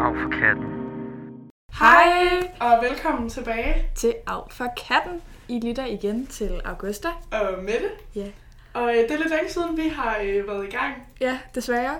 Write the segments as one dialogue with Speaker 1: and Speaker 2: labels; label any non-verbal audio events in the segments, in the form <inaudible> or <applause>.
Speaker 1: Af for katten.
Speaker 2: Hej og velkommen tilbage
Speaker 3: til Af for katten. I lytter igen til Augusta.
Speaker 2: og øh, Mette.
Speaker 3: Ja.
Speaker 2: Og øh, det er lidt længe siden, vi har øh, været i gang.
Speaker 3: Ja, desværre.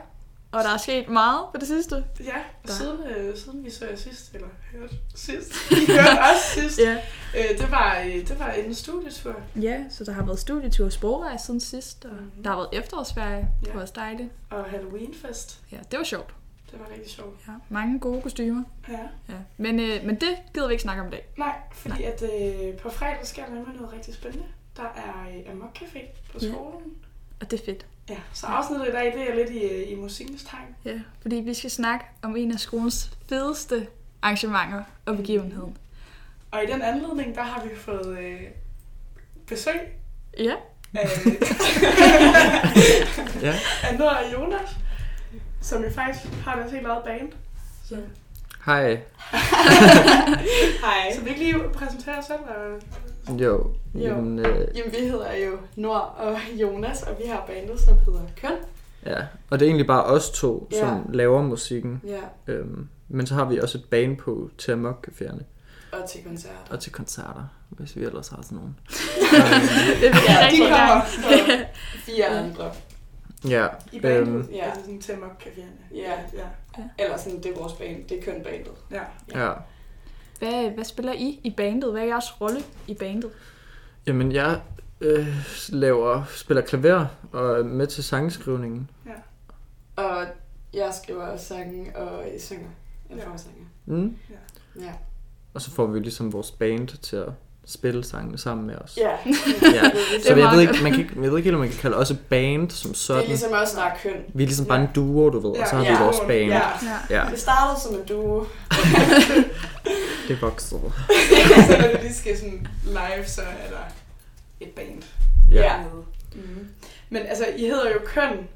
Speaker 3: Og der er sket meget på det sidste.
Speaker 2: Ja,
Speaker 3: Der.
Speaker 2: siden, øh, siden vi så jer sidst, eller hørte sidst. <laughs> I hørte os sidst.
Speaker 3: Ja.
Speaker 2: Øh, det, var, øh, det var en studietur.
Speaker 3: Ja, så der har været studietur og sprogrejse siden sidst, og
Speaker 2: Mhm.
Speaker 3: der har været efterårsferie
Speaker 2: Ja.
Speaker 3: ja. hos Dejle.
Speaker 2: Og Halloweenfest.
Speaker 3: Ja, det var sjovt.
Speaker 2: Det var rigtig sjovt.
Speaker 3: Ja. Mange gode kostymer.
Speaker 2: Ja.
Speaker 3: Ja. Men, øh, men det gider vi ikke snakke om i dag.
Speaker 2: Nej, fordi at øh, på fredag sker der nemlig noget rigtig spændende. Der er øh, Amok Café på
Speaker 3: Ja.
Speaker 2: skolen.
Speaker 3: Og det er fedt.
Speaker 2: Ja, så afsnittet i dag, det er lidt i, øh, i musikkens tegn.
Speaker 3: Ja, fordi vi skal snakke om en af skolens fedeste arrangementer og begivenheder.
Speaker 2: Og i den anledning, der har vi fået øh, besøg
Speaker 3: Ja.
Speaker 2: Øh. af
Speaker 1: <laughs> Ja.
Speaker 2: af Nora og Jonas, som jo faktisk har deres helt eget band. Så,
Speaker 1: Hej.
Speaker 4: Hej.
Speaker 2: så vi ikke lige præsentere os selv? Og...
Speaker 1: Jo.
Speaker 4: Jo.
Speaker 1: Jamen, øh,
Speaker 4: Jamen, vi hedder jo Nord og Jonas, og vi har bandet, som hedder Køn.
Speaker 1: ja. Og det er egentlig bare os to,
Speaker 4: Ja.
Speaker 1: som laver musikken.
Speaker 4: Ja.
Speaker 1: Øhm, men så har vi også et band på til amokcaféerne
Speaker 4: Og til koncerter.
Speaker 1: og til koncerter, hvis vi ellers har sådan nogen.
Speaker 3: Det vil <laughs> jeg
Speaker 4: Ja, de
Speaker 3: rigtig
Speaker 4: kommer
Speaker 3: gerne.
Speaker 4: så fire andre.
Speaker 1: Ja,
Speaker 2: I bandet?
Speaker 1: Øhm.
Speaker 2: ja. Altså sådan til mokcaféerne?
Speaker 4: Ja.
Speaker 2: ja.
Speaker 4: Eller sådan, det er vores band. Det er Køn bandet.
Speaker 2: <laughs> ja.
Speaker 1: ja.
Speaker 3: Hvad, hvad spiller I i bandet? Hvad er jeres rolle i bandet?
Speaker 1: Jamen, jeg øh, laver, spiller klaver og er med til sangskrivningen.
Speaker 4: Og jeg skriver også sange og øh, synger. Eller
Speaker 2: Ja.
Speaker 4: ja. forsanger.
Speaker 1: Mm.
Speaker 4: Ja.
Speaker 1: Og så får vi ligesom vores band til at spille sangene sammen med os.
Speaker 4: Ja.
Speaker 1: Ja.
Speaker 4: Det,
Speaker 1: Så
Speaker 3: er
Speaker 1: jeg
Speaker 3: meget
Speaker 1: ved, ikke, man kan ikke, jeg ved ikke helt, om man kan kalde os et band som
Speaker 4: det er
Speaker 1: sådan.
Speaker 4: ligesom også, der er køn.
Speaker 1: Vi er ligesom bare en duo, du ved, og så har vi
Speaker 4: Ja.
Speaker 1: vores band.
Speaker 2: Ja.
Speaker 3: Ja.
Speaker 1: Ja,
Speaker 4: Det startede som en duo.
Speaker 1: det voksede.
Speaker 2: så når det lige skal sådan live, så er der et band.
Speaker 1: Ja.
Speaker 4: Mhm.
Speaker 2: Mm. Men altså, I hedder jo Køn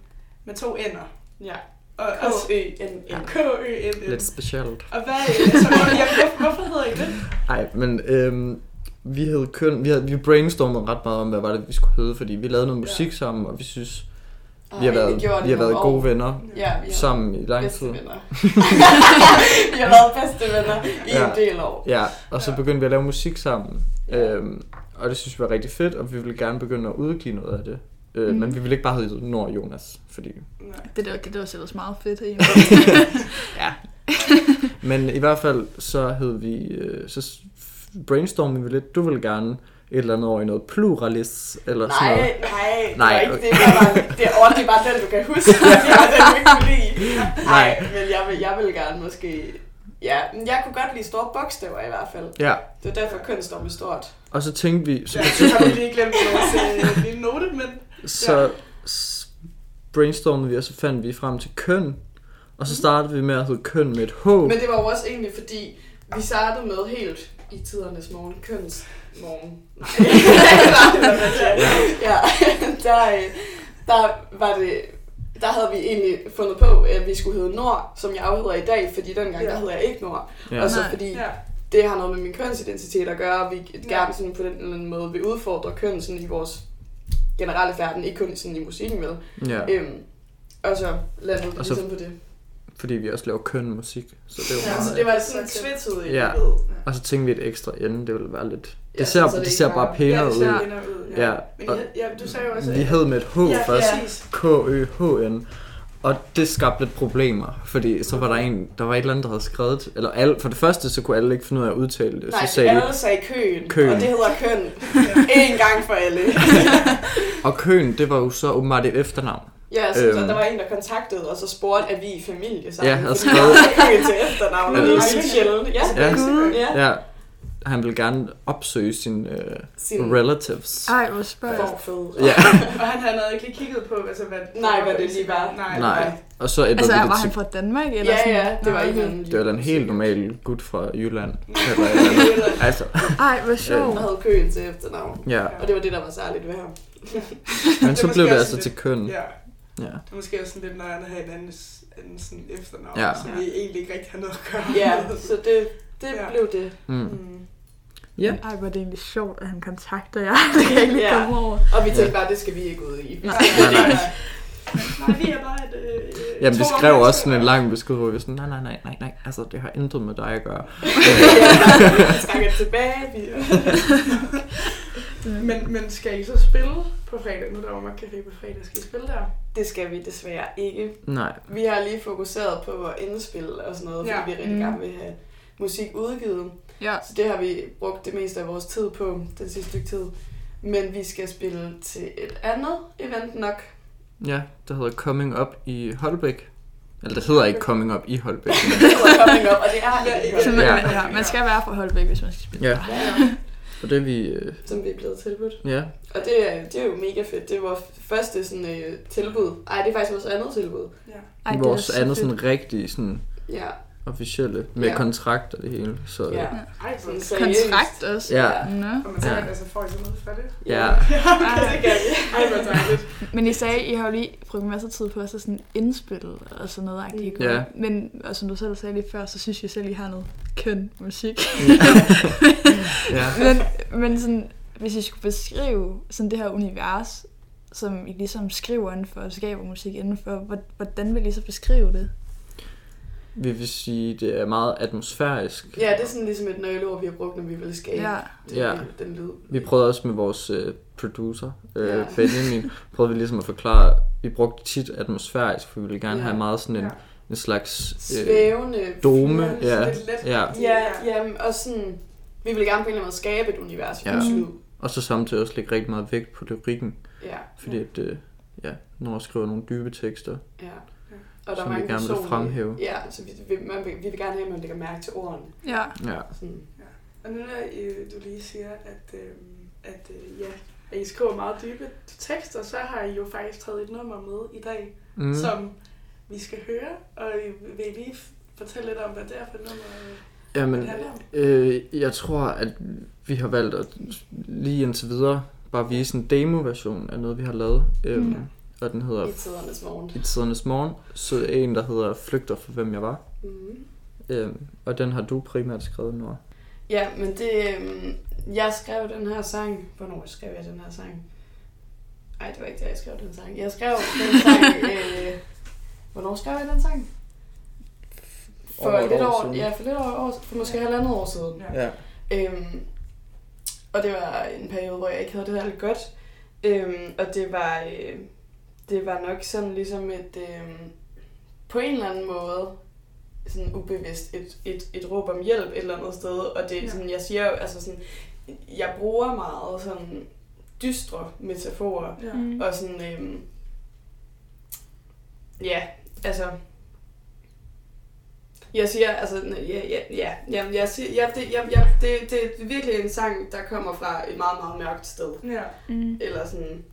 Speaker 2: med to ender.
Speaker 4: Ja.
Speaker 2: Og, og,
Speaker 4: K-Ø-N-N.
Speaker 2: k ø n
Speaker 1: Lidt specielt.
Speaker 2: Og hvad, altså, hvor- ja, hvor- hvorfor hedder I det?
Speaker 1: Nej, men øhm, vi hed køn, vi, havde, vi brainstormede ret meget om, hvad var det, vi skulle hedde, fordi vi lavede noget
Speaker 2: Ja.
Speaker 1: musik sammen, og vi synes,
Speaker 4: Og
Speaker 1: vi har været,
Speaker 4: egentlig gjort
Speaker 1: vi har
Speaker 4: det
Speaker 1: været
Speaker 4: nogle
Speaker 1: gode
Speaker 4: år.
Speaker 1: venner
Speaker 4: Ja, vi har
Speaker 1: sammen i lang
Speaker 4: bedste
Speaker 1: tid.
Speaker 4: venner. <laughs> vi har været bedste venner i
Speaker 1: Ja.
Speaker 4: en del år.
Speaker 1: Ja, og så
Speaker 2: Ja.
Speaker 1: begyndte vi at lave musik sammen,
Speaker 4: Ja.
Speaker 1: øhm, og det synes vi var rigtig fedt, og vi ville gerne begynde at udgive noget af det. Øh,
Speaker 3: Mhm.
Speaker 1: Men vi ville ikke bare hedde Nord og Jonas, fordi...
Speaker 2: Nej.
Speaker 3: Det der, det der var selvfølgelig meget fedt
Speaker 4: <laughs>
Speaker 3: egentlig.
Speaker 1: <laughs> Men i hvert fald, så hed vi... Øh, så s- brainstormede vi lidt, du ville gerne et eller andet over i noget pluralis, eller sådan
Speaker 4: Nej,
Speaker 1: noget.
Speaker 4: nej,
Speaker 1: Nej,
Speaker 4: nej, det var
Speaker 1: okay.
Speaker 4: ikke det, der var, det, og det var den, du kan huske, det var den, du ikke kunne lide. Nej, men jeg vil, jeg vil gerne måske, ja, men jeg kunne godt lide store bogstaver i hvert fald.
Speaker 1: Ja,
Speaker 4: Det var derfor køn står med stort.
Speaker 1: og så tænkte vi, så
Speaker 2: Ja,
Speaker 1: på et
Speaker 2: så har vi
Speaker 4: <laughs>
Speaker 1: tidspunkt,
Speaker 2: lige glemt vores øh, lille note, men
Speaker 1: så s- brainstormede vi, og så fandt vi frem til køn, og så startede vi med at hedde køn med et H.
Speaker 4: Mhm. Men det var jo også egentlig, fordi vi startede med helt i tidernes morgen, køns morgen.
Speaker 1: <laughs>
Speaker 4: Nej. ja, der, øh, der var det, der havde vi egentlig fundet på, at vi skulle hedde Nord, som jeg afheder i dag, fordi dengang
Speaker 2: Ja.
Speaker 4: der hedder jeg ikke Nord.
Speaker 1: Ja.
Speaker 4: Ja. Og så
Speaker 3: Nej.
Speaker 4: fordi
Speaker 2: ja.
Speaker 4: det har noget med min kønsidentitet at gøre, og vi
Speaker 2: Ja.
Speaker 4: gerne sådan på den eller anden måde vil udfordre køn sådan i vores generelle færden, ikke kun sådan i musikken med.
Speaker 1: ja,
Speaker 4: Ja. Øhm, og så landede vi
Speaker 1: Og så-
Speaker 4: ligesom på det.
Speaker 1: fordi vi også laver køn musik, så det var
Speaker 4: Ja, så
Speaker 1: meget...
Speaker 4: det var
Speaker 2: sådan
Speaker 4: sådan
Speaker 2: en
Speaker 4: tvetydigt.
Speaker 1: Ja.
Speaker 2: ved.
Speaker 1: Og så tænkte vi et ekstra ende, det ville være lidt...
Speaker 4: Ja,
Speaker 1: Det ser,
Speaker 4: så Altså, det
Speaker 1: det
Speaker 4: ikke
Speaker 1: ser
Speaker 4: var-
Speaker 1: bare
Speaker 2: Ja,
Speaker 1: pænere
Speaker 2: det
Speaker 1: ud.
Speaker 2: ser pænere ud. Ja.
Speaker 1: Ja,
Speaker 2: Men
Speaker 1: og
Speaker 2: I, havde- ja, du sagde jo også...
Speaker 1: vi
Speaker 2: at-
Speaker 1: hed med et H
Speaker 2: ja,
Speaker 1: først.
Speaker 2: Præcis.
Speaker 1: K-Ø-H-N. Og det skabte lidt problemer, fordi så var der en, der var et eller andet, der havde skrevet, eller alle, for det første, så kunne alle ikke finde ud af at udtale det,
Speaker 4: Nej,
Speaker 1: så sagde de,
Speaker 4: alle sagde køen,
Speaker 1: Køen.
Speaker 4: og det hedder
Speaker 1: <laughs>
Speaker 4: køn. en gang for alle.
Speaker 1: og køen, det var jo så åbenbart et efternavn.
Speaker 4: Ja, så, øhm. så
Speaker 1: Øhm.
Speaker 4: der var en, der kontaktede, og så spurgte, at vi i familie sammen.
Speaker 1: Ja, og
Speaker 4: fordi
Speaker 1: skrev-
Speaker 4: der var køen til efternavn, og det
Speaker 1: Ja.
Speaker 4: er lidt sjældent. Ja,
Speaker 1: Ja.
Speaker 4: ja.
Speaker 1: Ja. ja. Han ville gerne opsøge sine øh,
Speaker 4: Sin
Speaker 1: relatives.
Speaker 3: Ej, hvor spørg.
Speaker 4: forfædre.
Speaker 1: Ja,
Speaker 2: Og han havde nok ikke lige kigget på, altså, hvad...
Speaker 4: Nej, hvad det lige var.
Speaker 2: Nej.
Speaker 1: nej. Og så ændrede
Speaker 3: Altså,
Speaker 1: altså, vi
Speaker 3: var
Speaker 1: det
Speaker 3: han
Speaker 1: til,
Speaker 3: fra Danmark? Eller
Speaker 4: Ja,
Speaker 3: sådan?
Speaker 4: ja, det
Speaker 3: Nå,
Speaker 4: var ikke
Speaker 3: okay.
Speaker 4: en
Speaker 1: det var da en helt normal gut fra Jylland. Eller et eller andet. altså,
Speaker 3: Ej, hvor sjovt.
Speaker 4: Der havde køen til efternavn.
Speaker 1: ja.
Speaker 4: Og det var det, der var særligt ved ham.
Speaker 1: Men så
Speaker 2: måske
Speaker 1: blev det
Speaker 2: også
Speaker 1: altså
Speaker 2: lidt-
Speaker 1: til køn.
Speaker 2: Ja,
Speaker 1: Ja.
Speaker 2: det er måske også sådan lidt nøjeren at have en anden, anden sådan efternavn,
Speaker 1: Ja.
Speaker 2: ja. som vi egentlig ikke rigtig har noget at gøre
Speaker 4: Ja,
Speaker 2: med.
Speaker 4: så det, det
Speaker 2: Ja.
Speaker 4: blev det.
Speaker 1: Mm.
Speaker 2: Mm.
Speaker 3: Ej, hvor er det egentlig sjovt, at han kontakter jer. <laughs> Det kan jeg ikke lige
Speaker 4: Ja.
Speaker 3: komme over.
Speaker 4: Og vi tænkte bare, det skal vi ikke ud i.
Speaker 3: Nej.
Speaker 1: Nej, nej.
Speaker 2: Nej, vi er bare et... Øh,
Speaker 1: Jamen,
Speaker 2: to
Speaker 1: de skrev
Speaker 2: omgange-
Speaker 1: også sådan en lang besked, hvor vi var sådan, nej, nej, nej, nej, nej, altså, det har intet med dig at gøre.
Speaker 4: Ja, jeg trækker tilbage. Vi...
Speaker 2: Men, men skal I så spille på fredag? Nu der var Café på fredag. Skal I spille der?
Speaker 4: Det skal vi desværre ikke.
Speaker 1: Nej,
Speaker 4: Vi har lige fokuseret på at indspille og sådan noget, fordi
Speaker 2: Ja.
Speaker 4: vi rigtig
Speaker 3: Mm.
Speaker 4: gerne vil have musik udgivet.
Speaker 3: Ja,
Speaker 4: Så det har vi brugt det meste af vores tid på den sidste stykke tid. Men vi skal spille til et andet event nok.
Speaker 1: ja, det hedder Coming Up i Holbæk. Eller det hedder ikke Coming Up i Holbæk.
Speaker 4: Det hedder Coming Up, og det er
Speaker 2: Ja,
Speaker 3: så
Speaker 4: et
Speaker 3: man,
Speaker 1: Ja.
Speaker 3: ja. ja. man skal være fra Holbæk, hvis man skal spille.
Speaker 1: Ja,
Speaker 4: event,
Speaker 1: <laughs> og det er vi, øh,
Speaker 4: som vi er blevet tilbudt.
Speaker 1: ja,
Speaker 4: Og det, er- det er jo mega fedt. Det er vores første sådan, øh, tilbud. Ej, det er faktisk vores andet tilbud.
Speaker 2: Ja.
Speaker 3: Ej, det er
Speaker 1: vores
Speaker 3: så
Speaker 1: andet
Speaker 3: fedt.
Speaker 1: sådan rigtige sådan
Speaker 4: Ja,
Speaker 1: officielle med
Speaker 4: Ja.
Speaker 1: kontrakt og det hele. Så, øh,
Speaker 4: ja.
Speaker 1: ja.
Speaker 2: Ej, hvor
Speaker 4: Sådan seriøst.
Speaker 3: kontrakt også.
Speaker 1: ja.
Speaker 3: Nå.
Speaker 2: Og man tænker,
Speaker 1: Ja.
Speaker 2: ja. altså, får I så noget for det? <laughs>
Speaker 1: Ja.
Speaker 4: det gør vi.
Speaker 2: Ej, hvor dejligt.
Speaker 3: Men I sagde, I har jo lige brugt en masse tid på at så sådan indspille og sådan noget. Agtigt,
Speaker 1: Ja.
Speaker 3: Men og som du selv sagde lige før, så synes jeg selv, I har noget køn musik.
Speaker 1: ja.
Speaker 3: men, men sådan, hvis I skulle beskrive sådan det her univers, som I ligesom skriver indenfor og skaber musik indenfor, hvor- hvordan vil I så beskrive det?
Speaker 1: Vi vil sige, det er meget atmosfærisk.
Speaker 4: Ja, det er sådan ligesom et nøgleord, vi har brugt, når vi vil skabe
Speaker 3: Ja.
Speaker 4: den,
Speaker 1: Ja.
Speaker 4: den lyd.
Speaker 1: Vi prøvede også med vores øh, producer, øh,
Speaker 4: Ja.
Speaker 1: <laughs> Benjamin, prøvede vi ligesom at forklare, vi brugte tit atmosfærisk, for vi ville gerne
Speaker 4: Ja.
Speaker 1: have meget sådan en,
Speaker 2: Ja.
Speaker 1: en slags...
Speaker 4: Svævende.
Speaker 1: dome,
Speaker 4: fyrende.
Speaker 1: ja.
Speaker 2: Lidt let.
Speaker 1: Ja,
Speaker 4: Ja, jamen, og sådan... Vi vil gerne på en eller anden måde skabe et univers for
Speaker 1: Ja.
Speaker 4: ja. lyd.
Speaker 1: Og så samtidig også lægge rigtig meget vægt på lyrikken,
Speaker 4: Ja,
Speaker 1: fordi at, øh, ja, når jeg skriver nogle dybe tekster,
Speaker 4: ja.
Speaker 1: Som
Speaker 4: Og der er
Speaker 1: vi
Speaker 4: mange
Speaker 1: gerne vil
Speaker 4: personlige-
Speaker 1: fremhæve.
Speaker 4: Ja, så vi, vi, man, vil- vi vil gerne have, at man lægger mærke til ordene.
Speaker 3: Ja.
Speaker 1: ja,
Speaker 4: Sådan.
Speaker 2: Og nu når øh, du lige siger, at, øh, at, øh, ja, at I skriver meget dybe tekster, så har I jo faktisk taget et nummer med i dag,
Speaker 1: mm,
Speaker 2: mm. som vi skal høre. Og I vil I lige f- fortælle lidt om, hvad det er for et nummer, øh,
Speaker 1: jamen,
Speaker 2: det handler om?
Speaker 1: øh, jeg tror, at vi har valgt at lige indtil videre bare vise en demo-version af noget, vi har lavet, øhm,
Speaker 3: Mm.
Speaker 1: og den hedder
Speaker 4: I tidernes morgen.
Speaker 1: I tidernes morgen, så er en, der hedder Flygter for hvem jeg var.
Speaker 4: Mm.
Speaker 1: Øhm, og den har du primært skrevet, Nora.
Speaker 4: Ja, men det... øhm, Jeg skrev den her sang... Hvornår skrev jeg den her sang? Ej, det var ikke der, jeg skrev den sang. Jeg skrev
Speaker 1: <laughs>
Speaker 4: den sang... øh, hvornår skrev jeg den sang? For
Speaker 1: Over et
Speaker 4: lidt
Speaker 1: år
Speaker 4: over,
Speaker 1: siden.
Speaker 4: Ja, for lidt over et år, for måske halvandet år siden.
Speaker 1: Ja.
Speaker 4: Øhm, og det var en periode, hvor jeg ikke havde det særlig godt. Øhm, og det var, øh, det var nok sådan ligesom et, øh, på en eller anden måde, sådan ubevidst, et, et, et råb om hjælp et eller andet sted. Og det er
Speaker 2: Ja.
Speaker 4: sådan, jeg siger jo, altså sådan, jeg bruger meget sådan dystre metaforer.
Speaker 2: Ja.
Speaker 3: Mm.
Speaker 4: Og sådan, øh, ja, altså, jeg siger, altså, n- ja, ja, ja, jamen, jeg siger, ja, det, ja, ja, det, det er virkelig en sang, der kommer fra et meget, meget mørkt sted,
Speaker 2: Ja.
Speaker 3: Mm.
Speaker 4: eller sådan,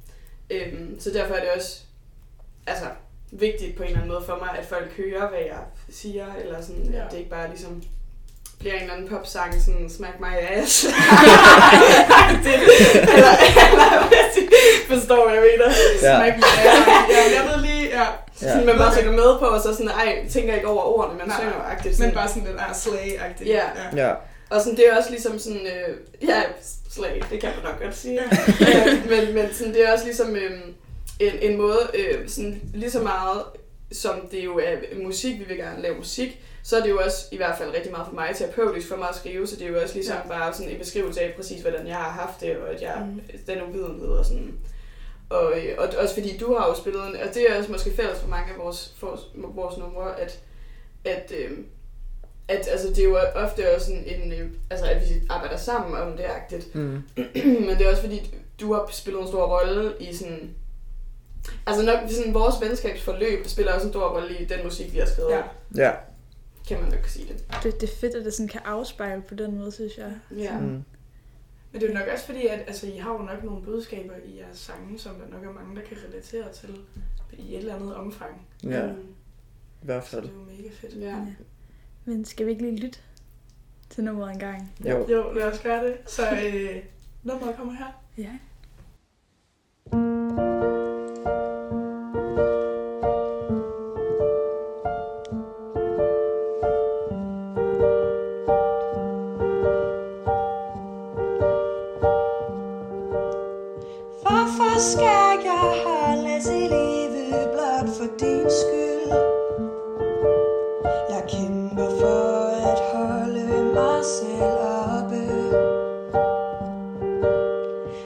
Speaker 4: øhm, så derfor er det også, altså, vigtigt på en eller anden måde for mig, at folk hører, hvad jeg siger, eller sådan, ja.
Speaker 2: Ja.
Speaker 4: at det ikke bare ligesom bliver en eller anden popsang, sådan, smack my ass, <laughs> det, eller, eller, forstår, hvad jeg mener.
Speaker 1: Ja.
Speaker 2: Smack me
Speaker 4: Ja,
Speaker 2: down.
Speaker 4: ja, jeg ved lige, ja.
Speaker 1: Ja.
Speaker 4: Sådan, man bare synger med på, og så sådan, ej, tænker ikke over ordene, man
Speaker 2: Nej,
Speaker 4: synger agtigt. Sådan.
Speaker 2: Men bare sådan ah, den der slay-agtig.
Speaker 4: Ja.
Speaker 1: ja.
Speaker 4: Og sådan, det er også ligesom sådan, øh, ja, slag, det kan man nok godt sige. Øh, men, men sådan, det er også ligesom øh, en, en måde, øh, sådan, lige så meget som det jo er musik, vi vil gerne lave musik, så er det jo også i hvert fald rigtig meget for mig terapeutisk for mig at skrive, så det er jo også ligesom ja. bare sådan en beskrivelse af præcis, hvordan jeg har haft det, og at jeg, mm. den uvidenhed og sådan. Og, øh, og også fordi du har jo spillet, en, og det er også måske fælles for mange af vores, for, vores numre, at, at, øh, at altså, det er jo ofte også sådan en, øh, altså, at vi arbejder sammen om det agtigt.
Speaker 1: Mm.
Speaker 4: <clears throat> Men det er også fordi, du har spillet en stor rolle i sådan... Altså nok sådan, vores venskabsforløb spiller også en stor rolle i den musik, vi har skrevet.
Speaker 2: Ja.
Speaker 4: Ja.
Speaker 1: Ja.
Speaker 4: Kan man nok sige det.
Speaker 3: Det, det er fedt, at det sådan kan afspejle på den måde, synes jeg.
Speaker 4: Ja.
Speaker 1: Mm.
Speaker 2: Men det er jo nok også fordi, at altså, I har jo nok nogle budskaber i jeres sange, som der nok er mange, der kan relatere til i et eller andet omfang.
Speaker 1: ja,
Speaker 4: Mm.
Speaker 1: i hvert
Speaker 2: Så det
Speaker 1: fald.
Speaker 2: er jo mega fedt.
Speaker 4: ja.
Speaker 3: Men skal vi ikke lige lytte til nummeret en gang?
Speaker 1: Jo.
Speaker 2: Jo, lad os gøre det. Så øh, nummeret kommer her.
Speaker 3: Ja.
Speaker 5: Hvorfor skal jeg holdes i live blot? kæmper for at holde mig selv oppe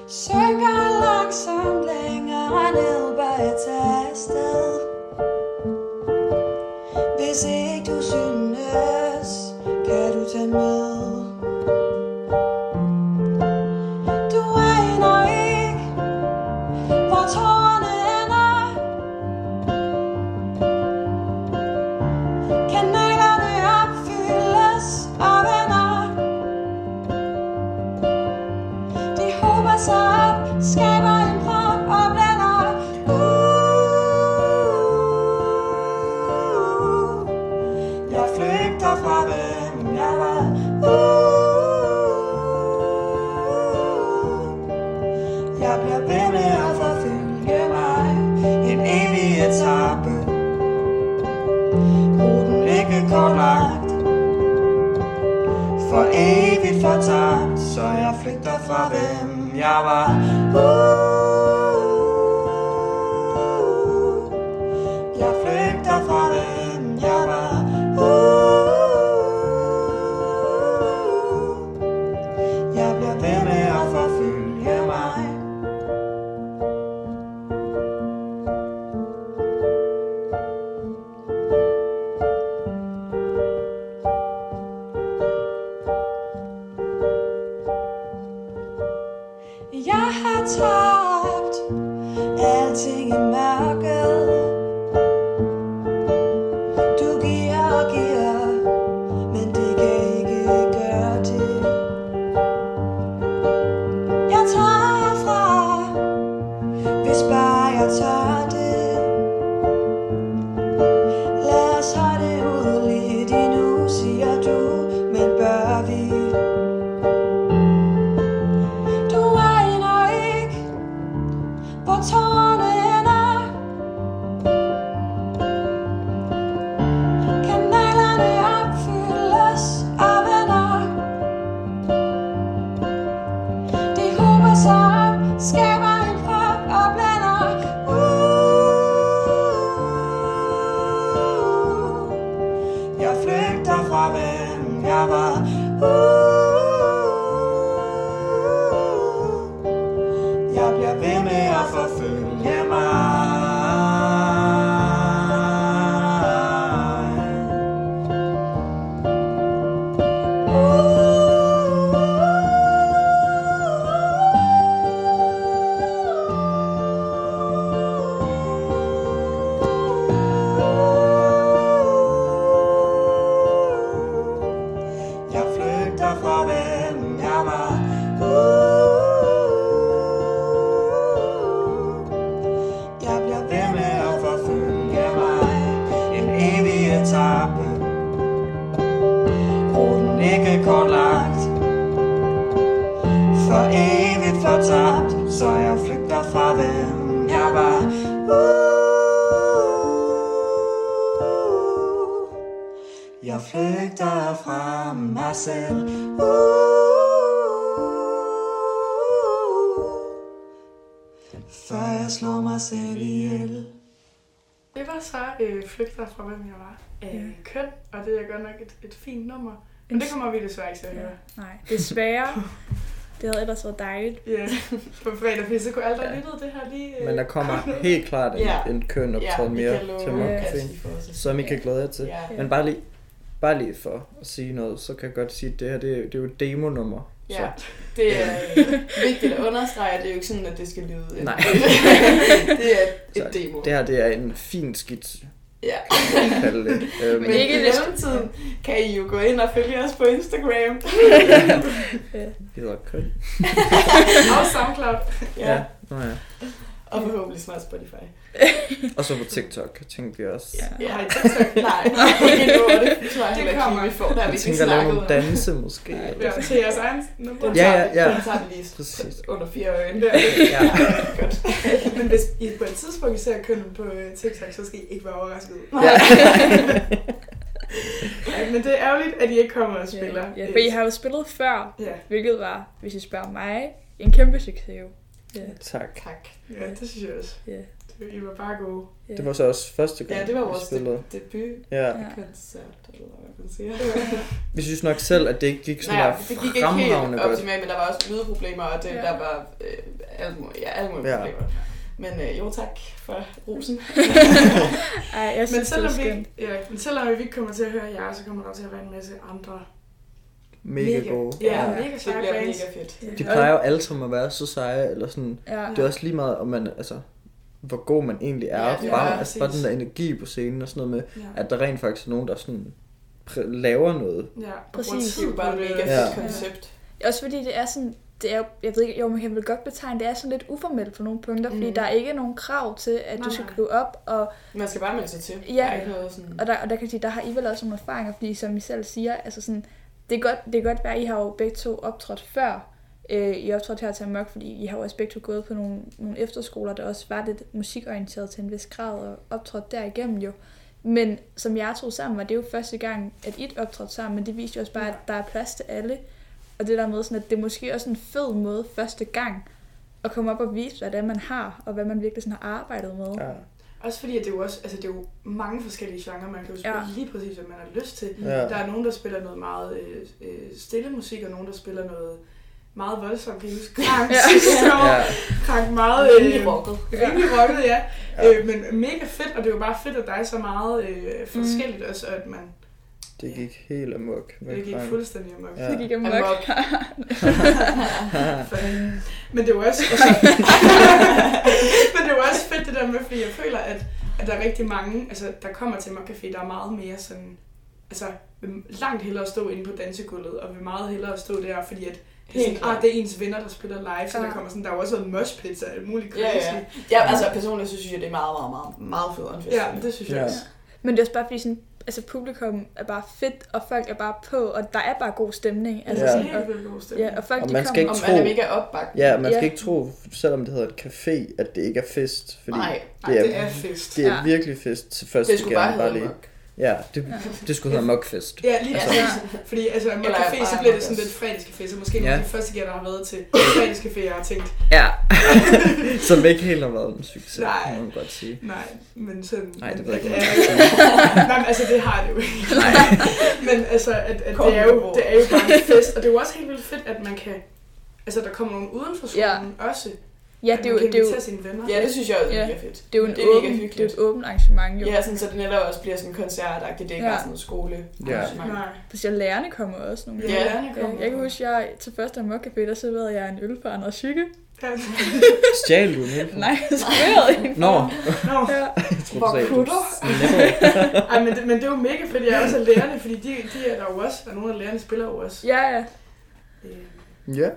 Speaker 5: Synger langsomt længere ned, bare jeg tager afsted Hvis ikke du synes, kan du tage med Du aner ikke, hvor tårerne ender Kanalerne opfyldes og vender De håber sig op, skaber en prop og blander uh, Jeg flygter fra hvem jeg var uh, Jeg bliver ved med at forfølge mig En evig etape ruten ikke kortlagt For evigt fortabt, så jeg flygter fra hvem jeg var uh, Jeg flygter fra hvem jeg var uh, Jeg bliver ved med at forfølge mig Jeg har tabt alting i mørket Du giver og giver, men det kan ikke gøre det Jeg tager fra, hvis bare jeg tør det Lad os holde det ud lidt endnu, siger du, men bør vi? Du aner ikke, hvor tårerne ender. Kanalerne opfyldes og vender. De hober sig op, skaber en prop og blander. Uh, jeg flygter fra hvem jeg var uh, Jeg bliver ved med at forfølge mig Jeg flygter fra hvem jeg var Uh, Jeg bliver ved med at forfølge mig En evig etape Ruten ikke kortlagt For evigt fortabt Så jeg flygter fra hvem jeg var Uh, jeg flygter fra mig selv. Uh, før jeg slår mig selv ihjel.
Speaker 2: Det var så øh, Flygter fra hvem jeg var af
Speaker 3: Ja.
Speaker 2: køn, og det er godt nok et, et fint nummer. Men
Speaker 6: En
Speaker 2: det kommer vi desværre ikke til at høre.
Speaker 6: Nej, desværre.
Speaker 3: <laughs>
Speaker 6: Det havde ellers været dejligt.
Speaker 2: Ja, på fredag, fordi så kunne alle, der
Speaker 1: Ja.
Speaker 2: lyttede det her lige... øh,
Speaker 1: Men der kommer helt klart en,
Speaker 4: Ja.
Speaker 1: en køn optræden mere til
Speaker 6: love,
Speaker 1: Mokka
Speaker 6: at
Speaker 1: som I kan glæde jer til.
Speaker 4: Ja.
Speaker 1: Men bare lige, bare lige for at sige noget, så kan jeg godt sige, at det her det, er- det er jo et demonummer.
Speaker 4: Ja,
Speaker 1: Så.
Speaker 4: det er øh, vigtigt at understrege, at det er jo ikke sådan, at det skal lyde.
Speaker 1: Nej.
Speaker 4: <laughs> det er et
Speaker 1: Så
Speaker 4: demo.
Speaker 1: Det her det er en fin skitse, <laughs>
Speaker 4: Ja.
Speaker 1: kan jeg kalde det. Øhm,
Speaker 4: <laughs> Men ikke
Speaker 6: ikke
Speaker 4: i
Speaker 6: desto-
Speaker 4: mellemtiden kan I jo gå ind og følge os på Instagram.
Speaker 1: det hedder køn.
Speaker 2: Og SoundCloud.
Speaker 1: Ja. Nå ja.
Speaker 4: Og forhåbentlig snart Spotify.
Speaker 1: Og så på TikTok, tænkte vi også.
Speaker 6: Ja.
Speaker 4: Ja. Har I TikTok?
Speaker 1: <laughs>
Speaker 4: Nej, ikke endnu. og Det tror jeg heller ikke,
Speaker 2: kommer.
Speaker 4: lige, vi får. Der har vi
Speaker 1: Jeg
Speaker 4: ikke
Speaker 1: tænkte at lave
Speaker 4: snakket om.
Speaker 1: nogle danse måske.
Speaker 2: Ja,
Speaker 1: Eller
Speaker 2: til jeres egen nummer.
Speaker 4: Den
Speaker 1: Ja,
Speaker 4: tager
Speaker 1: ja,
Speaker 4: vi-
Speaker 1: ja.
Speaker 4: Den tager vi lige <laughs>
Speaker 1: Præcis.
Speaker 4: under fire øjne.
Speaker 2: Ja.
Speaker 1: Ja.
Speaker 4: Godt.
Speaker 2: Men hvis I på et tidspunkt ser kønnen på øh, TikTok, så skal I ikke være overrasket.
Speaker 4: <laughs>
Speaker 1: Ja.
Speaker 2: Ej, men det er ærgerligt, at I ikke kommer og spiller.
Speaker 6: Ja, for I har jo spillet før,
Speaker 2: Ja,
Speaker 6: hvilket var, hvis I spørger mig, en kæmpe succes. jo.
Speaker 1: Tak.
Speaker 4: Tak.
Speaker 2: ja, det synes jeg også.
Speaker 6: Ja.
Speaker 2: Det I var bare gode.
Speaker 1: Det var så også første gang,
Speaker 4: Ja, det var
Speaker 1: vi
Speaker 4: vores
Speaker 1: spillede.
Speaker 4: de- debut
Speaker 1: Ja.
Speaker 3: Ja.
Speaker 4: koncert, eller hvad man siger.
Speaker 1: Vi synes nok selv, at det ikke gik sådan der
Speaker 4: det gik ikke
Speaker 1: fremragende
Speaker 4: helt
Speaker 1: godt.
Speaker 4: optimalt, men der var også lydproblemer, og det,
Speaker 6: Ja.
Speaker 4: der var øh, alle, mulige, ja, alle mulige
Speaker 1: Ja.
Speaker 4: ja. problemer. Men øh, jo, tak for rosen.
Speaker 6: Ej, jeg
Speaker 2: Men
Speaker 6: synes, det
Speaker 2: selvom,
Speaker 6: er
Speaker 2: vi,
Speaker 6: skønt.
Speaker 2: ja, men selvom vi ikke kommer til at høre jer, så kommer der til at være en masse andre
Speaker 1: Mega,
Speaker 2: mega-
Speaker 1: gode.
Speaker 2: Ja,
Speaker 4: Ja,
Speaker 2: mega
Speaker 4: Det
Speaker 2: seje
Speaker 4: bliver
Speaker 2: bands.
Speaker 4: mega fedt.
Speaker 1: De plejer jo alle sammen at være så seje, eller sådan.
Speaker 6: Ja.
Speaker 1: Det er også lige meget, om man, altså, hvor god man egentlig er.
Speaker 4: Ja,
Speaker 1: Ja,
Speaker 4: ja,
Speaker 1: bare, altså, bare den
Speaker 2: præcis.
Speaker 1: der energi på scenen og sådan noget med,
Speaker 2: Ja.
Speaker 1: at der rent faktisk er nogen, der sådan pr- laver noget.
Speaker 2: Ja, og
Speaker 6: Præcis.
Speaker 2: bruger
Speaker 4: Det er
Speaker 2: tid
Speaker 4: jo bare
Speaker 2: på
Speaker 4: et
Speaker 2: det.
Speaker 4: mega
Speaker 1: Ja.
Speaker 4: fedt koncept.
Speaker 6: Også fordi det er sådan, det er, jo- jeg ved ikke, jo, man kan vel godt betegne, det er sådan lidt uformelt på nogle punkter, fordi
Speaker 4: Mm.
Speaker 6: mm. der er ikke nogen krav til, at du
Speaker 2: Nej,
Speaker 6: skal
Speaker 2: nej.
Speaker 6: skrive op, og,
Speaker 4: Man skal bare melde sig til.
Speaker 6: Ja.
Speaker 4: Der er ikke noget sådan...
Speaker 6: og, der, og der kan jeg sige, der har I vel også nogle erfaringer, fordi som I selv siger, altså sådan, det er godt, det kan godt være, at I har jo begge to optrådt før, øh, I optrådte her til Amok, fordi I har jo også begge to gået på nogle, nogle efterskoler, der også var lidt musikorienteret til en vis grad, og optrådt derigennem jo. Men som jeg tog sammen, var det jo første gang, at I optrådte sammen, men det viste jo også bare, at der er plads til alle. Og det der med, sådan, at det er måske også en fed måde første gang at komme op og vise, hvordan man har, og hvad man virkelig sådan har arbejdet med.
Speaker 1: Ja.
Speaker 2: Også fordi, at det er jo også, altså det er jo mange forskellige genrer, man kan jo spille
Speaker 6: Ja.
Speaker 2: lige præcis, hvad man har lyst til.
Speaker 1: Ja.
Speaker 2: Der er nogen, der spiller noget meget øh, øh, stille musik, og nogen, der spiller noget meget voldsomt, kan I huske? Krank, <laughs>
Speaker 6: Ja.
Speaker 2: sidste år.
Speaker 1: Ja.
Speaker 2: Krank meget...
Speaker 4: Rimelig
Speaker 2: øh, <laughs>
Speaker 4: rocket.
Speaker 2: Rimelig rocket, ja.
Speaker 1: Ja.
Speaker 2: Øh, men mega fedt, og det er jo bare fedt, at der er så meget
Speaker 6: Mm.
Speaker 2: øh, forskelligt også, og at man
Speaker 1: Det gik helt amok. med
Speaker 2: det gik
Speaker 1: Frank.
Speaker 2: fuldstændig amok.
Speaker 1: Ja.
Speaker 6: Det gik amok.
Speaker 4: Amok.
Speaker 6: <laughs>
Speaker 2: Fanden. Øh, Men det er jo også... <laughs> Altså, men det er jo også fedt det der med, fordi jeg føler, at, at der er rigtig mange, altså der kommer til Mokcafé, der er meget mere sådan, altså vil langt hellere stå inde på dansegulvet, og vil meget hellere stå der, fordi at det er,
Speaker 4: Helt
Speaker 2: sådan,
Speaker 4: klart.
Speaker 2: ah, det er ens venner, der spiller live, så
Speaker 6: Ja.
Speaker 2: der kommer sådan, der er jo også noget mosh pizza, alt muligt
Speaker 4: Ja,
Speaker 2: crazy.
Speaker 4: ja. Ja, altså personligt så synes jeg, det er meget, meget, meget, meget fedt en fest.
Speaker 2: ja. det synes jeg
Speaker 1: Ja.
Speaker 2: også.
Speaker 6: Men det er også bare fordi sådan, altså publikum er bare fedt, og folk er bare på, og der er bare god stemning. Altså
Speaker 1: Ja.
Speaker 2: Ja.
Speaker 6: sådan,
Speaker 2: Helt
Speaker 6: og,
Speaker 2: vildt god stemning.
Speaker 6: ja, og folk
Speaker 1: Og
Speaker 6: de
Speaker 1: man skal
Speaker 6: kommer,
Speaker 4: Om
Speaker 1: ikke
Speaker 4: man er
Speaker 1: tro-
Speaker 4: mega opbakket.
Speaker 1: Ja, man skal
Speaker 6: Ja.
Speaker 1: ikke tro, selvom det hedder et café, at det ikke er fest. Fordi
Speaker 4: Nej,
Speaker 2: Ej, det er fest.
Speaker 1: det er
Speaker 6: Ja.
Speaker 1: virkelig fest til første
Speaker 4: det skulle bare
Speaker 1: gang.
Speaker 4: hedde
Speaker 1: lige.
Speaker 4: Amok.
Speaker 1: Ja, det, det skulle hedde amokfest.
Speaker 2: Ja, lige
Speaker 1: Altså-
Speaker 2: altså, ja. Fordi altså, med
Speaker 4: Eller
Speaker 2: café, så
Speaker 4: bare
Speaker 2: bliver det
Speaker 4: Among
Speaker 2: sådan
Speaker 4: Us.
Speaker 2: lidt fredagscafé, så måske
Speaker 1: Ja.
Speaker 2: ja. de første gang, der har været til fredagscafé, jeg har tænkt,
Speaker 1: Ja. <laughs> Som ikke helt har været en succes,
Speaker 2: Nej.
Speaker 1: kan man godt sige.
Speaker 2: nej, men sådan...
Speaker 1: Nej, det ved jeg
Speaker 2: <laughs>
Speaker 1: ikke,
Speaker 2: at
Speaker 1: om
Speaker 2: det
Speaker 1: man
Speaker 2: er-
Speaker 1: kan sige.
Speaker 2: Nej, men altså, det har det jo ikke.
Speaker 1: Nej.
Speaker 2: Men altså, at, at
Speaker 4: Kom
Speaker 2: det, er jo,
Speaker 4: på.
Speaker 2: det er jo bare en fest, og det er jo også helt vildt fedt, at man kan... Altså, der kommer nogen uden for skolen ja. også.
Speaker 6: Ja,
Speaker 2: at
Speaker 6: det er jo,
Speaker 2: man kan
Speaker 6: det er jo,
Speaker 2: invitere sine venner.
Speaker 4: Ja, det synes jeg også er
Speaker 6: Ja.
Speaker 4: mega fedt.
Speaker 6: det er jo en
Speaker 4: det er mega
Speaker 6: åben, det er jo
Speaker 4: hyggeligt.
Speaker 6: et åbent arrangement jo.
Speaker 4: Ja, sådan, så det netop også bliver sådan koncertagtigt, det er ikke
Speaker 6: Ja.
Speaker 4: bare sådan en skole.
Speaker 1: Ja.
Speaker 2: Nej.
Speaker 6: Præcis, og lærerne kommer også nogle
Speaker 2: Ja,
Speaker 6: gange.
Speaker 4: Ja.
Speaker 2: lærerne kommer.
Speaker 6: Ja, jeg kan huske, jeg til første amok café, der serverede jeg en øl for Anders Hygge.
Speaker 2: Ja.
Speaker 1: Stjal du en hel
Speaker 6: Nej, <laughs> jeg serverede en.
Speaker 2: Nå,
Speaker 1: Nå,
Speaker 6: Ja.
Speaker 1: jeg tror,
Speaker 4: Hvor
Speaker 1: du sagde,
Speaker 4: kunne
Speaker 1: du
Speaker 4: du?
Speaker 1: snappede.
Speaker 2: Ej, men, det, men det er jo mega fedt, jeg er også er lærerne, fordi de, de er der jo også, og nogle af lærerne spiller jo også.
Speaker 6: Ja, ja.
Speaker 2: Øh,
Speaker 1: Ja,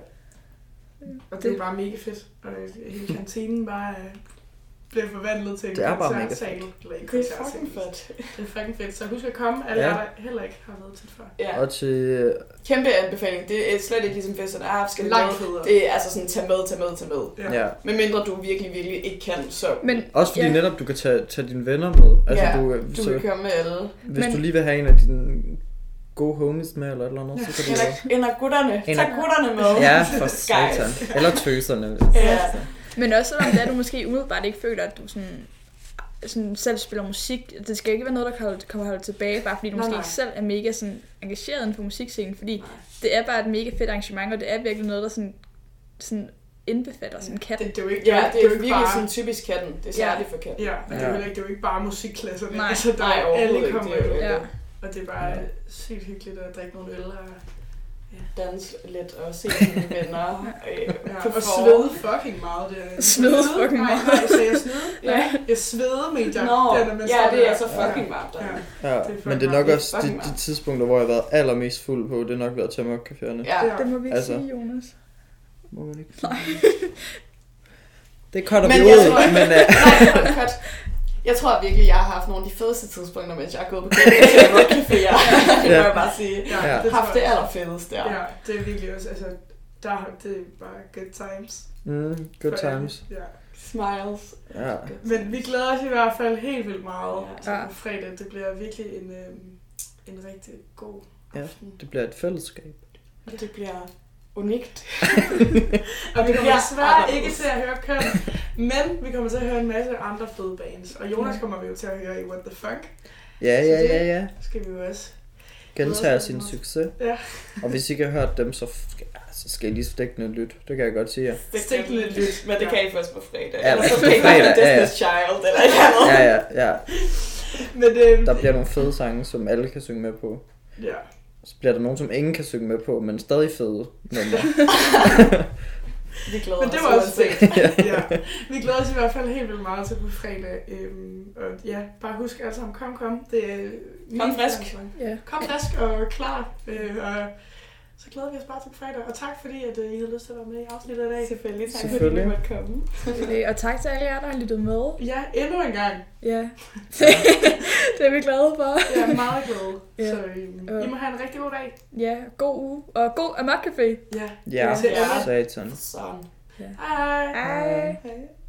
Speaker 2: Og det er jo bare mega fedt, og hele kantinen bare øh, bliver forvandlet til en
Speaker 1: Det er bare mega
Speaker 2: koncertsal. Eller en
Speaker 4: Det er
Speaker 2: koncertsal.
Speaker 4: fucking fedt.
Speaker 2: Det er fucking fedt. Så husk at komme, alle
Speaker 1: Ja.
Speaker 2: ja. der heller ikke har været til før.
Speaker 4: Ja.
Speaker 1: og til...
Speaker 4: Kæmpe anbefaling. Det er slet ikke ligesom festerne. Ah, skal vi
Speaker 2: Langt
Speaker 4: med?
Speaker 2: federe.
Speaker 4: Det er altså sådan, tag med, tag med, tag med.
Speaker 1: Ja.
Speaker 4: Men mindre du virkelig, virkelig ikke kan, så
Speaker 6: Men,
Speaker 1: Også fordi
Speaker 6: ja.
Speaker 1: netop du kan tage, tage dine venner med. Altså,
Speaker 4: Ja,
Speaker 1: du,
Speaker 4: du
Speaker 1: så,
Speaker 4: kan køre med alle.
Speaker 1: hvis
Speaker 6: Men-
Speaker 1: du lige vil have en af dine gode homies med, eller et eller andet, så kan du...
Speaker 4: Eller, eller gutterne.
Speaker 1: Eller-
Speaker 4: Tag gutterne med. <laughs>
Speaker 1: Ja, for
Speaker 4: Guys.
Speaker 1: satan. Eller tøserne.
Speaker 4: <laughs> Ja.
Speaker 6: men også selvom det er, du måske umiddelbart ikke føler, at du sådan, sådan selv spiller musik. Det skal ikke være noget, der kan holde- kommer holde tilbage, bare fordi du
Speaker 2: Nej,
Speaker 6: måske
Speaker 2: nej.
Speaker 6: ikke selv er mega sådan, engageret inden for musikscenen. Fordi det er bare et mega fedt arrangement, og det er virkelig noget, der sådan, sådan indbefatter sådan kat.
Speaker 2: Det, det er jo ikke,
Speaker 4: Ja, det er jo virkelig
Speaker 2: bare,
Speaker 4: sådan typisk katten. Det er
Speaker 6: Ja.
Speaker 4: særligt for katten.
Speaker 2: Ja, men det
Speaker 1: Ja.
Speaker 2: er, jo ikke, det er jo ikke bare musikklasserne.
Speaker 6: Nej,
Speaker 2: altså, der
Speaker 4: Nej,
Speaker 2: er alle
Speaker 4: overhovedet ikke.
Speaker 2: kommer
Speaker 4: Det er jo
Speaker 2: jo.
Speaker 4: ikke
Speaker 6: Ja.
Speaker 4: det.
Speaker 2: Og det er bare ja. sygt hyggeligt at drikke nogle øl og,
Speaker 4: Dans lidt og se sine venner. Øh,
Speaker 2: ja,
Speaker 4: performe.
Speaker 2: og svede fucking meget. Det.
Speaker 6: <laughs> Svede fucking
Speaker 2: meget. Nej, nej, så jeg
Speaker 6: <laughs>
Speaker 2: svede.
Speaker 4: Ja.
Speaker 2: Jeg svede, mente jeg.
Speaker 4: Nå,
Speaker 2: der, når man
Speaker 4: ja,
Speaker 2: står
Speaker 4: det er
Speaker 2: der.
Speaker 4: så fucking varmt altså. der.
Speaker 2: Ja.
Speaker 1: Ja,
Speaker 2: Det er
Speaker 1: men det er
Speaker 2: fucking
Speaker 1: nok
Speaker 4: meget.
Speaker 1: også
Speaker 4: Det er
Speaker 1: de,
Speaker 4: fucking
Speaker 1: de tidspunkter, hvor jeg har været allermest fuld på, det er nok været til mokcaféerne.
Speaker 4: Ja.
Speaker 2: Ja.
Speaker 6: Det må vi ikke
Speaker 1: Altså.
Speaker 6: altså. sige, Jonas.
Speaker 1: Må man ikke? Nej. <laughs> Det cutter vi
Speaker 4: Men jeg
Speaker 1: ud,
Speaker 4: tror- <laughs>
Speaker 1: men uh,
Speaker 4: Nej, hold, cut. Jeg tror virkelig, jeg har haft nogle af de fedeste tidspunkter, mens jeg har gået på caféer.
Speaker 1: <laughs>
Speaker 4: Det må jeg bare sige.
Speaker 2: Ja,
Speaker 1: Ja.
Speaker 4: Jeg
Speaker 2: det
Speaker 4: har haft
Speaker 2: tror
Speaker 4: det
Speaker 2: jeg også.
Speaker 4: allerfedeste der.
Speaker 2: Ja, det er virkelig også, altså, der har det er bare good times.
Speaker 1: mm, good
Speaker 2: For alle.
Speaker 1: times.
Speaker 2: Ja.
Speaker 4: Smiles.
Speaker 1: Ja.
Speaker 2: Men vi glæder os i hvert fald helt vildt meget
Speaker 4: Ja.
Speaker 2: ja. altså,
Speaker 6: Ja.
Speaker 2: på fredag. Det bliver virkelig en, øhm, en rigtig god
Speaker 1: Ja.
Speaker 2: aften.
Speaker 1: Det bliver et fællesskab.
Speaker 4: Og det bliver
Speaker 2: unikt. og vi kommer
Speaker 4: bliver
Speaker 2: desværre
Speaker 4: anderledes.
Speaker 2: ikke til at høre køn, men vi kommer til at høre en masse andre fede bands. Og Jonas kommer vi jo til at høre i What the Funk.
Speaker 1: Ja,
Speaker 2: Så
Speaker 1: ja,
Speaker 2: det-
Speaker 1: ja, ja.
Speaker 2: Så skal vi jo også.
Speaker 1: Gentager sin succes.
Speaker 2: Ja.
Speaker 1: Og hvis I ikke har hørt dem, så, f- så skal I lige stikkende lytte. Det kan jeg godt sige jer.
Speaker 4: Det
Speaker 2: Stik
Speaker 4: kan
Speaker 2: lidt
Speaker 4: lidt
Speaker 2: lyt.
Speaker 4: lyt, men det
Speaker 2: Ja.
Speaker 4: kan I først på fredag.
Speaker 1: Ja,
Speaker 4: Ja, Eller så
Speaker 1: på
Speaker 4: kan I bare
Speaker 1: fredag,
Speaker 4: høre
Speaker 1: ja, ja.
Speaker 4: Destiny's Child eller et eller andet.
Speaker 1: Ja, ja, ja.
Speaker 2: Men øhm,
Speaker 1: Der bliver nogle fede sange, som alle kan synge med på.
Speaker 2: ja.
Speaker 1: Så bliver der nogen, som ingen kan synge med på, men stadig fede. numre.
Speaker 4: Vi glæder
Speaker 2: Men det
Speaker 4: os
Speaker 2: var også
Speaker 4: uanset.
Speaker 2: fedt. ja. Vi glæder os i hvert fald helt vildt meget til på fredag. Øhm, og ja, bare husk alle sammen, kom, kom. Det er
Speaker 4: Kom
Speaker 2: min
Speaker 4: frisk.
Speaker 2: fornemmelse.
Speaker 6: Ja.
Speaker 2: Kom frisk og klar. Øh, og så glæder vi os bare til på fredag. Og tak fordi, at øh, I havde lyst til at være med i afsnittet i dag.
Speaker 4: Selvfølgelig, tak fordi
Speaker 1: Selvfølgelig.
Speaker 4: du måtte komme.
Speaker 6: Øh, Og tak til alle jer, der har lyttet med.
Speaker 2: Ja, endnu en gang.
Speaker 6: Ja, <laughs> det er vi glade for.
Speaker 2: Jeg er meget glad.
Speaker 6: Ja.
Speaker 2: Så øhm, I
Speaker 6: Ja.
Speaker 2: må have en rigtig god dag.
Speaker 6: Ja, god uge og god Amok Café.
Speaker 2: Ja.
Speaker 1: Ja,
Speaker 2: Til alle.
Speaker 1: satan.
Speaker 4: Sådan.
Speaker 2: Hej.
Speaker 6: Hej.
Speaker 4: Hej.